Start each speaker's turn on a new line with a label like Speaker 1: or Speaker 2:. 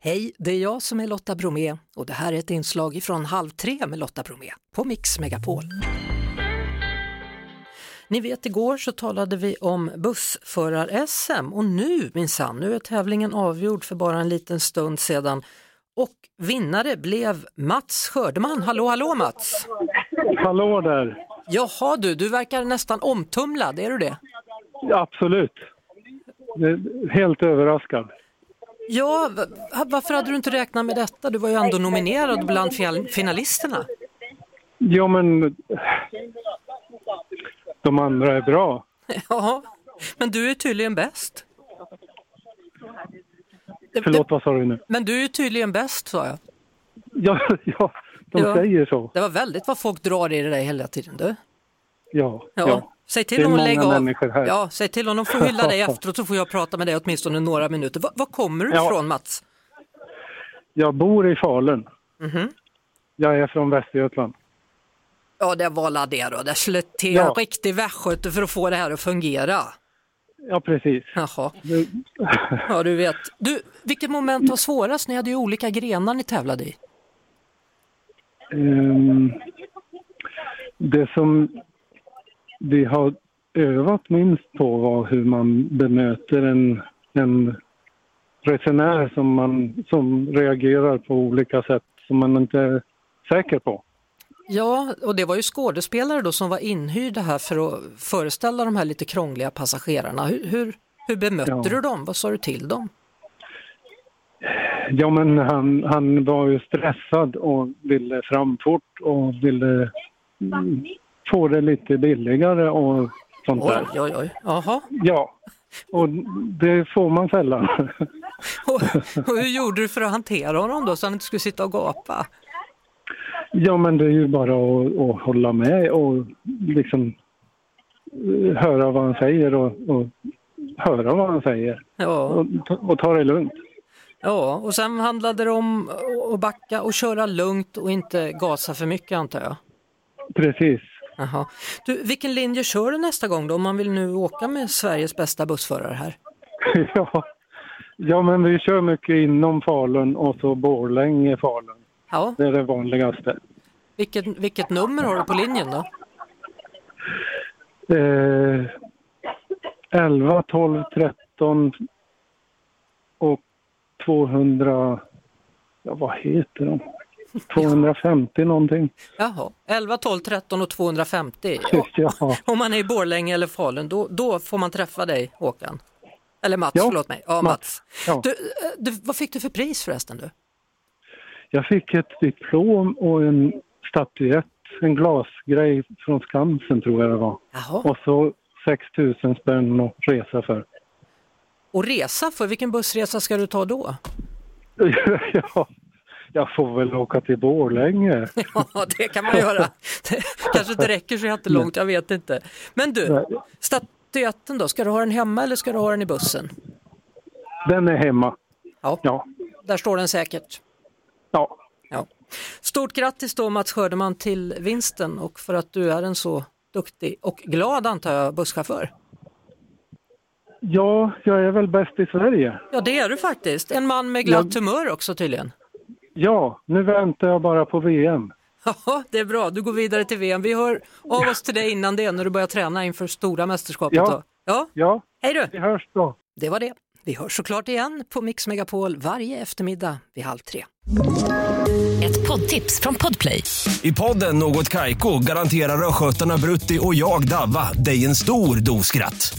Speaker 1: Hej, det är jag som är Lotta Bromé och det här är ett inslag från Halv tre med Lotta Bromé på Mix Megapol. Ni vet igår så talade vi om bussförar-SM och nu minsann, nu är tävlingen avgjord för bara en liten stund sedan och vinnare blev Mats Skördeman. Hallå hallå Mats!
Speaker 2: Hallå där!
Speaker 1: Jaha du, du verkar nästan omtumlad, är du det?
Speaker 2: Absolut. Eh, Helt överraskad.
Speaker 1: Ja, va- varför hade du inte räknat med detta? Du var ju ändå nominerad bland fjäl- finalisterna.
Speaker 2: Ja, men eh, de andra är bra.
Speaker 1: Ja, men du är tydligen bäst. Det- det-
Speaker 2: Förlåt, vad sa du nu?
Speaker 1: Men du är tydligen bäst sa jag.
Speaker 2: Ja, ja de
Speaker 1: Ja.
Speaker 2: säger så.
Speaker 1: Det var väldigt vad folk drar i det där hela tiden du.
Speaker 2: Ja,
Speaker 1: Ja.
Speaker 2: ja.
Speaker 1: Säg
Speaker 2: Det
Speaker 1: till
Speaker 2: är
Speaker 1: dem att
Speaker 2: många
Speaker 1: lägga av.
Speaker 2: människor här.
Speaker 1: Ja, säg till om de får hylla dig efteråt så får jag prata med dig åtminstone några minuter. Var, var kommer du
Speaker 2: Ja.
Speaker 1: ifrån Mats?
Speaker 2: Jag bor i Falun. Jag är från Västergötland.
Speaker 1: Ja, det var la det då. Det skulle till
Speaker 2: Ja.
Speaker 1: en riktig västgöte för att få det här att fungera.
Speaker 2: Ja, precis.
Speaker 1: Jaha,
Speaker 2: Det-
Speaker 1: ja du vet. Du, vilket moment var svårast? Ni hade ju olika grenar ni tävlade i.
Speaker 2: Ehm, det som vi har övat minst på var hur man bemöter en, en resenär som, man, som reagerar på olika sätt som man inte är säker på.
Speaker 1: Ja, och det var ju skådespelare då som var inhyrda här för att föreställa de här lite krångliga passagerarna. Hur, hur, hur bemötte
Speaker 2: Ja.
Speaker 1: du dem? Vad sa du till dem?
Speaker 2: Ja, men han, han var ju stressad och ville fram fort och ville mm, få det lite billigare och sånt där.
Speaker 1: Oj, oj, oj. Jaha.
Speaker 2: Ja, och det får man sällan.
Speaker 1: Och, och hur gjorde du för att hantera honom då så han inte skulle sitta och gapa?
Speaker 2: Ja, men det är ju bara att, att hålla med och liksom eh, höra vad han säger och, och höra vad han säger
Speaker 1: Ja,
Speaker 2: och, ta- och ta det lugnt.
Speaker 1: ja, och sen handlade det om att backa och köra lugnt och inte gasa för mycket antar jag.
Speaker 2: Precis.
Speaker 1: Jaha. Du, vilken linje kör du nästa gång då om man vill nu åka med Sveriges bästa bussförare här?
Speaker 2: ja. ja, men vi kör mycket inom Falun och så Borlänge, Falun.
Speaker 1: Ja,
Speaker 2: Det är det vanligaste.
Speaker 1: vilket, vilket nummer har du på linjen då?
Speaker 2: Eh, 11, 12, 13 och 200... Ja, vad heter de? 250 någonting.
Speaker 1: Jaha, 11, 12, 13 och 250.
Speaker 2: Ja.
Speaker 1: Om man är i Borlänge eller Falun, då, då får man träffa dig Håkan. Eller Mats,
Speaker 2: Ja,
Speaker 1: förlåt mig. Ja, Mats.
Speaker 2: Mats. Ja.
Speaker 1: Du, eh, du, vad fick du för pris förresten? Du?
Speaker 2: Jag fick ett diplom och en statyett, en glasgrej från Skansen tror jag det var.
Speaker 1: Jaha,
Speaker 2: Och så 6 000 spänn att resa för.
Speaker 1: och resa för? Vilken bussresa ska du ta då?
Speaker 2: ja, jag får väl åka till Borlänge.
Speaker 1: Ja, det kan man göra. Det kanske inte räcker så jättelångt, jag vet inte. Men du,
Speaker 2: Nej.
Speaker 1: statyetten då, ska du ha den hemma eller ska du ha den i bussen?
Speaker 2: Den är hemma.
Speaker 1: Ja,
Speaker 2: Ja,
Speaker 1: där står den säkert.
Speaker 2: ja.
Speaker 1: Ja. Stort grattis då Mats Skördeman till vinsten och för att du är en så duktig och glad antar jag busschaufför.
Speaker 2: ja jag är väl bäst i Sverige.
Speaker 1: Ja det är du faktiskt, en man med glatt
Speaker 2: Ja.
Speaker 1: humör också tydligen.
Speaker 2: Ja, nu väntar jag bara på VM.
Speaker 1: Ja, det är bra, du går vidare till VM. Vi hör av oss till dig innan det när du börjar träna inför stora mästerskapet.
Speaker 2: Ja.
Speaker 1: då. ja.
Speaker 2: Ja,
Speaker 1: hej du!
Speaker 2: vi hörs då.
Speaker 1: Det var det. Vi hörs såklart igen på Mix Megapol varje eftermiddag vid halv tre.
Speaker 3: Ett poddtips från Podplay.
Speaker 4: I podden Något Kaiko garanterar östgötarna Brutti och jag, Davva, dig en stor dos skratt.